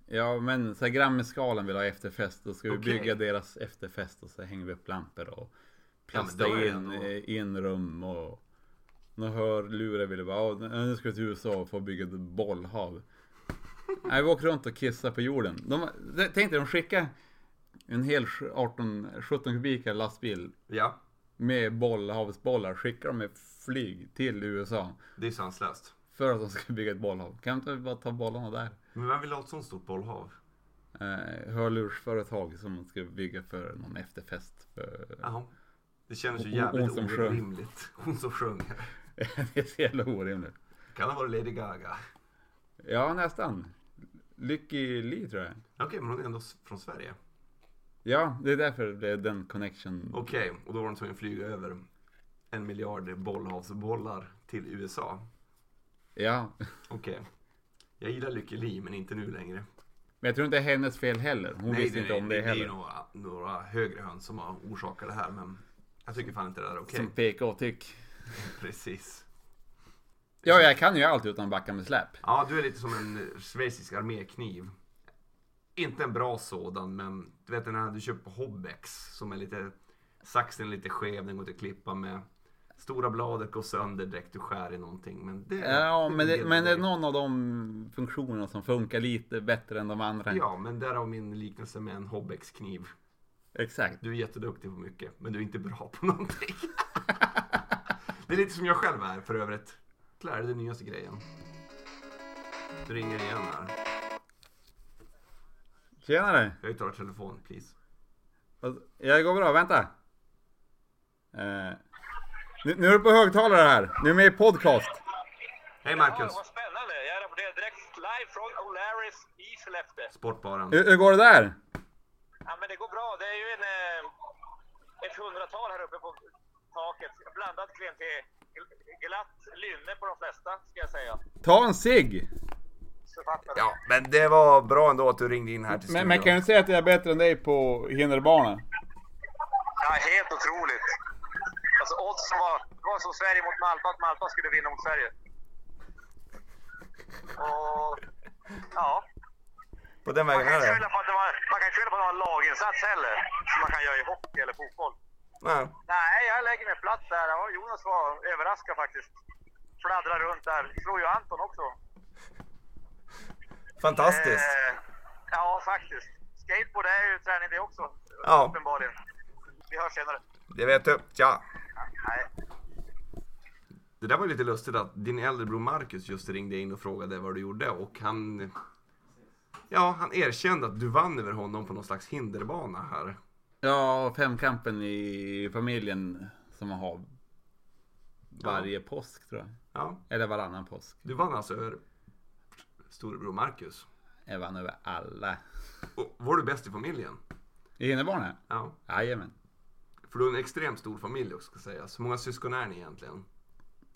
Ja men så här Grammisgalan vill ha efterfest. Då ska vi Okej. bygga deras efterfest och så hänger vi upp lampor och Ja, men då plasta är det in, ändå- eh, in rum och några hörlurar ville bara, "Ja, nu ska vi till USA och få bygga ett bollhav. Nej, vi åker runt och kissar på jorden. De, tänk dig, de skickar en hel 18-17 kubikare lastbil Ja, med bollhavsbollar, skickar dem med flyg till USA det är sanslöst. för att de ska bygga ett bollhav. Kan inte vi bara ta bollarna där? Men vem vill ha ett sånt stort bollhav? eh, hörlursföretag som man ska bygga för någon efterfest. För... Jaha. Det känns ju Hon- jävligt hon som sjöng. orimligt. Hon som sjunger. det är så jävla orimligt. Kan ha varit Lady Gaga. Ja, nästan. Lycky Li tror jag. Okej, men hon är ändå s- från Sverige. Ja, det är därför det är den connection. Okej, och då var de tvungna att flyga över en miljard bollhavsbollar till USA. Ja, Okej. Jag gillar Lykke Li, men inte nu längre. men jag tror inte det är hennes fel heller. Hon visste inte om det, Det är ju heller. några, några högre höns som har orsakat det här, men jag tycker fan inte det där är okej. Som PK-tyck. Precis. Ja, jag kan ju allt utan att backa med släp. Ja, du är lite som en eh, schweizisk armékniv. Inte en bra sådan, men du vet den här du köper på Hobbex som är lite saxen är lite skev, den går inte att klippa med. Stora bladet går sönder direkt du skär i någonting. Men det, Ja, men det, en men det är del- någon av de funktionerna som funkar lite bättre än de andra. Ja, men därav min liknelse med en Hobbex-kniv. Exakt. Du är jätteduktig på mycket, men du är inte bra på någonting. det är lite som jag själv är för övrigt. Klär är den nyaste grejen. Du ringer igen här. Tjenare! Jag tar telefon, please. Alltså, Ja, det går bra, vänta. Eh, nu, nu är du på högtalare här. Nu är du med i podcast. Hej Ja, Marcus! vad spännande. Jag rapporterar direkt live från O'Larrys i Skellefteå. Sportbaren. Hur, hur går det där? Ja, men det går bra. Det är ju en, eh, ett hundratal här uppe på taket. Blandat klientel. Gl- Glatt lynne på de flesta, ska jag säga. Ta en cigg! Författare. Ja, men det var bra ändå att du ringde in här till Men, studion. men kan du säga att jag är bättre än dig på hinderbanan? Ja, helt otroligt. Alltså oddsen var, det var som Sverige mot Malta, att Malta skulle vinna mot Sverige. Och, ja. På den Man vägen kan är inte det. skylla på att det var, man kan inte skylla på att det var en laginsats heller, som man kan göra i hockey eller fotboll. Nej. Nej, jag lägger mig platt där. Ja, Jonas var överraskad faktiskt. Fladdrar runt där. Slog ju Anton också. Fantastiskt. Eh, ja, faktiskt. Skateboard är ju träning det också. Ja. Uppenbarligen. Vi hörs senare. Det vet du. Tja. Nej. Det där var ju lite lustigt att din äldre bror Marcus just ringde in och frågade vad du gjorde och han... Ja, han erkände att du vann över honom på någon slags hinderbana här. Ja, femkampen i familjen som man har varje påsk tror jag. Ja, Eller varannan påsk. du vann alltså över storebror Marcus. Jag vann över alla. Och var du bäst i familjen? I hinderbana? Ja. Jajamän. För du har en extremt stor familj också ska sägas. Hur många syskon är ni egentligen?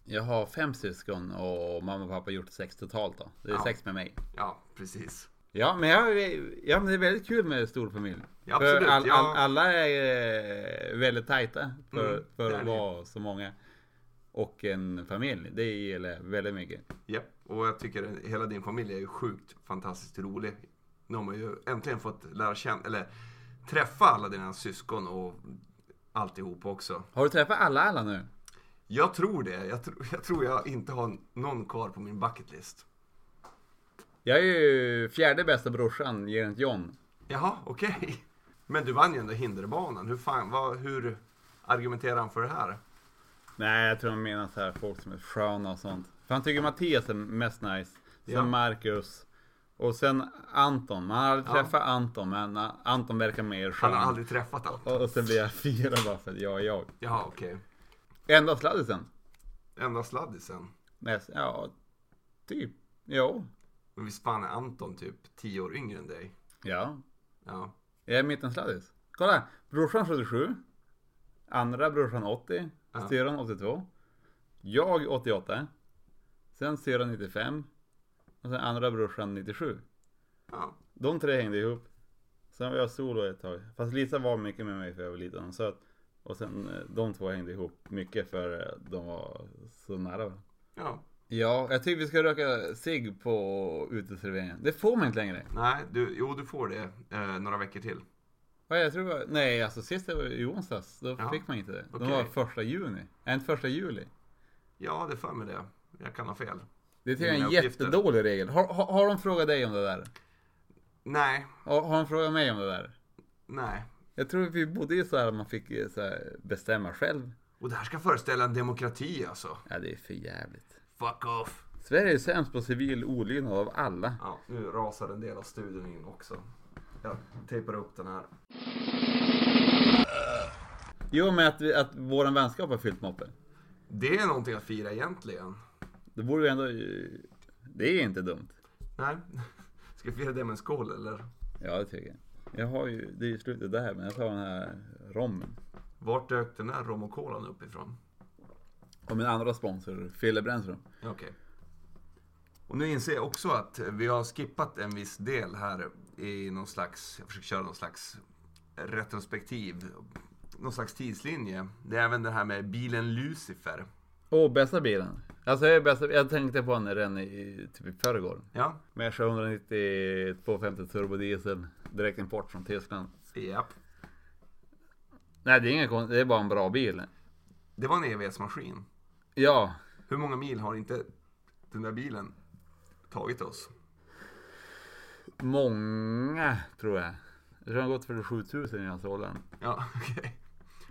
Jag har fem syskon och mamma och pappa har gjort sex totalt då. Det är Ja. sex med mig. Ja, precis. Ja, men, jag, ja, men det är väldigt kul med stor familj. Ja, För absolut, all, ja. all, alla är eh, väldigt tajta för, Mm, det för är att det. vara så många. Och en familj, det gillar jag väldigt mycket. Japp. Och jag tycker att hela din familj är ju sjukt fantastiskt rolig. Nu har man ju äntligen fått lära känna, eller träffa alla dina syskon och alltihop också. Har du träffat alla alla nu? Jag tror det. Jag, tr- jag tror jag inte har någon kvar på min bucketlist. Jag är ju fjärde bästa brorsan, gentemot John. Jaha, okej. Men du vann ju ändå hinderbanan. Hur fan, vad, hur argumenterar han för det här? Nej, jag tror han menar så här folk som är sköna och sånt. För han tycker Mattias är mest nice. Sen Ja. Marcus. Och sen Anton. Man har aldrig Ja. träffat Anton, men ah, Anton verkar mer skön. Han har aldrig träffat honom. Och, och sen blir jag fyra bara för att jag är jag. Jaha, okej. Enda sladdisen. Enda sladdisen. Nej, Ja, typ. Jo. Men visst fan är Anton typ 10 år yngre än dig? Ja. Ja. Jag är mittensladdis. Kolla! Brorsan 77. Andra brorsan 80. Ja. Syrran 82. Jag 88. Sen syrran 95. Och sen andra brorsan 97. ja. De tre hängde ihop. Sen var jag solo ett tag. Fast Lisa var mycket med mig för jag var liten och söt. Och sen eh, de två hängde ihop mycket för eh, de var så nära varandra. Ja. Ja, jag tycker vi ska röka cigg på uteserveringen. Det får man inte längre. Nej, du, jo du får det eh, några veckor till. Vad jag tror det var, nej alltså sist det var i onsdags, då Ja, fick man inte det. Det okej. var första juni, nej inte första juli. Ja, det är för mig det. Jag kan ha fel. Det är tydligen en Mina uppgifter. jättedålig regel. Har, har, har de frågat dig om det där? Nej, Har, har de frågat mig om det där? nej. Jag tror vi bodde ju så här, man fick eh, så här, bestämma själv. Och det här ska föreställa en demokrati alltså. Ja, det är för jävligt. Fuck off. Sverige är sämst på civil olydnad av alla. Ja, nu rasar en del av studion in också. Jag tejpar upp den här. Jo, med att, vi, att våran vänskap har fyllt moppen. Det är någonting att fira egentligen. Det borde ju ändå... eh, Det är inte dumt. Nej, ska vi fira det med en skål eller? Ja, det tycker jag. Jag har ju, det är ju slutet där, men jag tar den här rommen. Vart dök den här rom och kolan upp ifrån? Och min andra sponsor, Fille Brännström. Okej. Och nu inser jag också att vi har skippat en viss del här i någon slags, jag försöker köra någon slags retrospektiv, någon slags tidslinje. Det är även det här med bilen Lucifer. Åh, bästa bilen. Alltså, jag, är bästa, jag tänkte på den redan i, typ i förrgår. Ja, Merca 190 250 turbodiesel. Direkt import från Tyskland. japp. Nej, det är inga kon- det är bara en bra bil. Det var en E evighetsmaskin. Ja, Hur många mil har inte den där bilen tagit oss? många tror jag. Jag tror den har gått för 7000 innan jag sålde den. Ja, okej.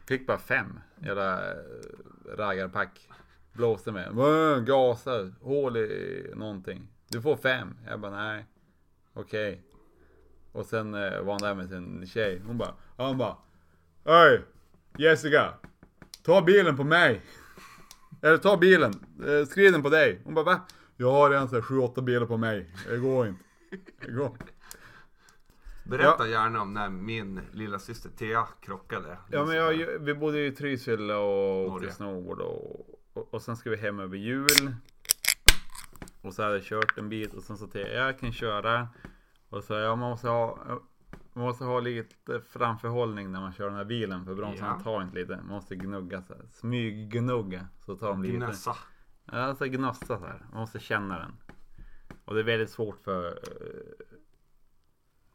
Fick bara fem jävla eh, raggarpack. Blåste med. Mö, Gasar, hål i någonting. Du får fem. Jag bara nej. Okej. Och sen eh, var han där med sin tjej. Hon bara. Han bara. Hej Jessica. Ta bilen på mig. Eller ta bilen. Eh, Skriv den på dig. Hon bara va? Jag har redan så här sju, åtta bilar på mig. Det går inte. Det går inte. Berätta gärna om när min lilla syster Thea krockade. Ja, men jag, vi bodde i Trysil och åkte Norge. snowboard och, och, och sen ska vi hem över jul. Och så hade jag kört en bit och sen sa jag jag kan köra. Och så ja, man måste ha man måste ha lite framförhållning när man kör den här bilen för bromsarna Ja. tar inte lite. Man måste gnugga så här. Smyggnugga så tar de lite. Gnässa. Ja, Alltså gnossa så här. Man måste känna den. Och det är väldigt svårt för eh,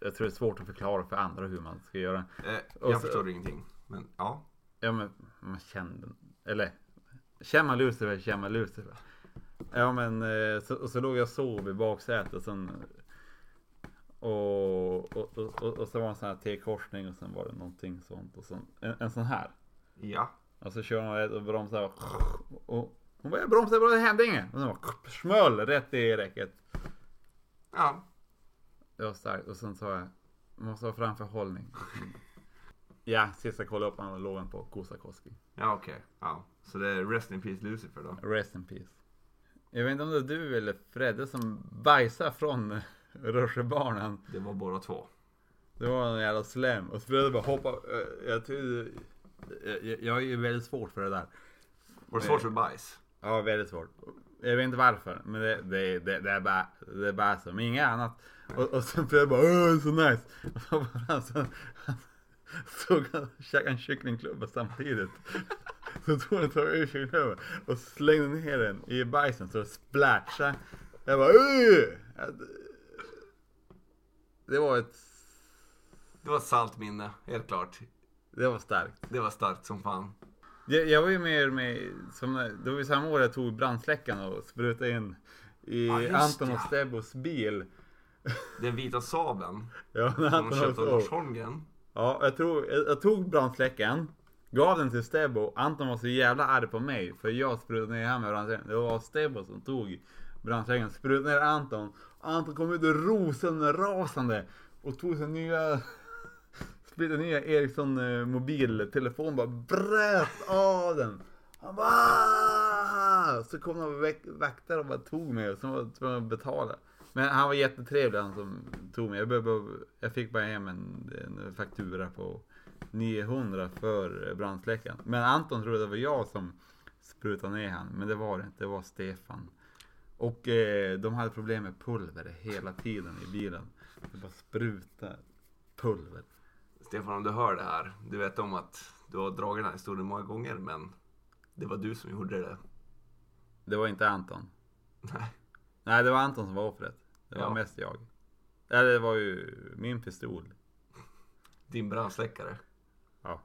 jag tror det är svårt att förklara för andra hur man ska göra. Eh, Och jag så- förstår ingenting. Men ja. Ja men man kände Eller Känner man Lucifer, känner man Lucifer. Ja men eh, så, och så låg jag och sov i baksätet och sen och, och, och, och, och sen var det en sån här T-korsning och sen var det någonting sånt och sen en, en sån här. Ja. Och så kör hon rätt och bromsar och, och hon bara jag bromsar bara det hände inget. Och sen bara smöll rätt i räcket. Ja. Det var starkt och sen sa jag måste ha framförhållning. Ja, sista kolla upp han låg han på Kosakoski. Ja okej. Ja. Så det är Rest in Peace Lucifer då. Rest in peace. Jag vet inte om det var du eller Fredde som bajsade från rutschbanan. Det var båda två. Det var en jävla slem. Och Fredde bara hoppade. Eh, Jag, tror- jag, jag, jag är ju väldigt svårt för det där. Var det Eh. svårt för bajs? Ja, väldigt svårt. Jag vet inte varför, men det, det, det, det, är, bara, det är bara så. Men inget annat. Och, och sen Fredde bara åh, så nice. Och så bara, alltså, han såg han och käkade en kycklingklubba samtidigt. Så tog han tag ur kycklingklubban och slängde ner den i bajsen så det splashade. Jag bara "Ugh!" Ja, det- Det var ett... Det var ett salt minne, helt klart. Det var starkt. Det var starkt som fan. Jag, jag var ju med, med som, det var ju samma år jag tog brandsläckaren och sprutade in i Ja, just Anton det. och Stebbos bil. Den vita sabeln Ja, när som Anton de köpte av var Lars så. Holmgren. Ja, jag, tror, jag, jag tog brandsläckaren, gav den till Stebo. Anton var så jävla arg på mig för jag sprutade ner han med brandsläckaren. Det var Stebo som tog brandsläckaren, sprutade ner Anton. Anton kom ut rosenrasande och tog sin nya splitter nya Ericsson eh, mobiltelefon bara bröt av den. Han bara "Ah!" Så kom några vak- vakter och bara tog mig och så var jag tvungen att betala. Men han var jättetrevlig han som tog mig. Jag, behövde, jag fick bara hem en, en faktura på 900 för brandsläckaren. Men Anton trodde det var jag som sprutade ner han. Men det var det inte. Det var Stefan. Och eh, de hade problem med pulver hela tiden i bilen. Det bara sprutade pulver. Stefan, om du hör det här. Du vet om att du har dragit den här historien många gånger, men det var du som gjorde det. Det var inte Anton. Nej. Nej, det var Anton som var offret. Det var Ja. mest jag. Eller det var ju min pistol. Din brandsläckare. Ja.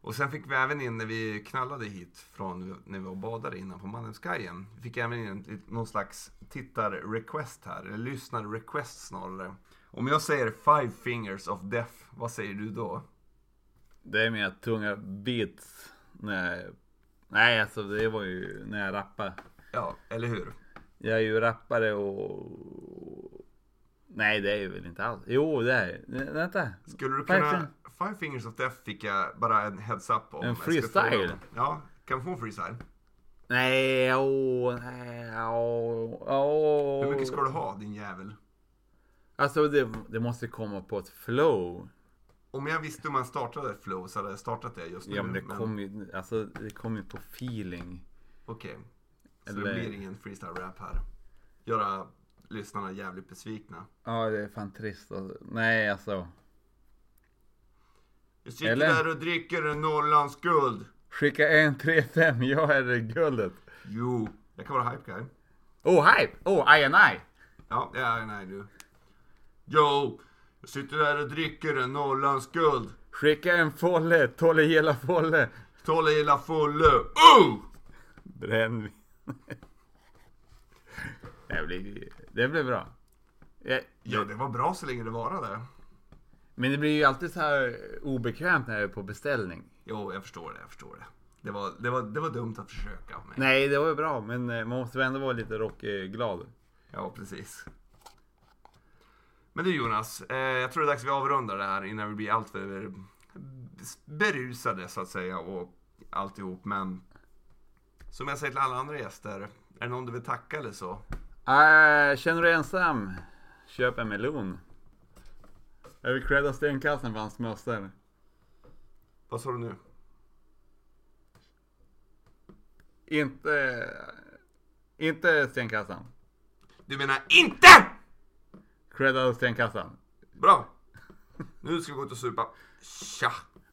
Och sen fick vi även in när vi knallade hit från när vi var och badade innan på Mannheimskajen. Vi fick även in en- någon slags tittar-request här, eller lyssnar-request snarare. Om jag säger Five Fingers of Death, vad säger du då? Det är mina tunga beats. När jag... Nej, alltså det var ju när jag rappade. Ja, eller hur? Jag är ju rappare och... Nej, det är ju väl inte alls. Jo, det är Nä- Vänta. Skulle du Five kunna... Fingers- Five Fingers of Death fick jag bara en heads up om. En jag ska få dem. freestyle? Ja, kan vi få en freestyle? Nej, åh, nej, åh, åh. Hur mycket ska du ha, din jävel? Alltså, det, det måste komma på ett flow. Om jag visste hur man startade ett flow så hade jag startat det just nu. Ja, men det kom ju, alltså, det kom ju på feeling. Okej. Så Eller- det blir ingen freestyle-rap här. Göra lyssnarna jävligt besvikna. Ja, det är fan trist. Alltså. Nej, alltså. Jag sitter Eller? där och dricker en Norrlands guld. Skicka en 3-5, jag är guldet. Jo, jag kan vara hype guy. Oh, hype! Oh, I and I! Ja, ja, nej du. Jo, jag sitter där och dricker en Norrlands guld. Skicka en folle, Tolle gilla folle. Tolle gillar fulle. Oh! Brännvin. det, blir, det blir bra. Ja, Ja, det var bra så länge det varade. Men det blir ju alltid så här obekvämt när jag är på beställning. Jo, jag förstår det, jag förstår det. Det var, det var, det var dumt att försöka av mig. Nej, det var ju bra, men eh, man måste väl ändå vara lite rockglad. Ja, precis. Men du Jonas, eh, jag tror det är dags att vi avrundar det här innan vi blir alltför berusade så att säga och alltihop. Men som jag säger till alla andra gäster, är det någon du vill tacka eller så? Ah, Äh, känner du dig ensam? Köp en melon. Jag vill credda stenkastaren för hans mössa. Vad sa du nu? Inte... Inte stenkastaren. Du menar INTE! Credda stenkastaren. Bra! Nu ska vi gå ut och supa. Tja!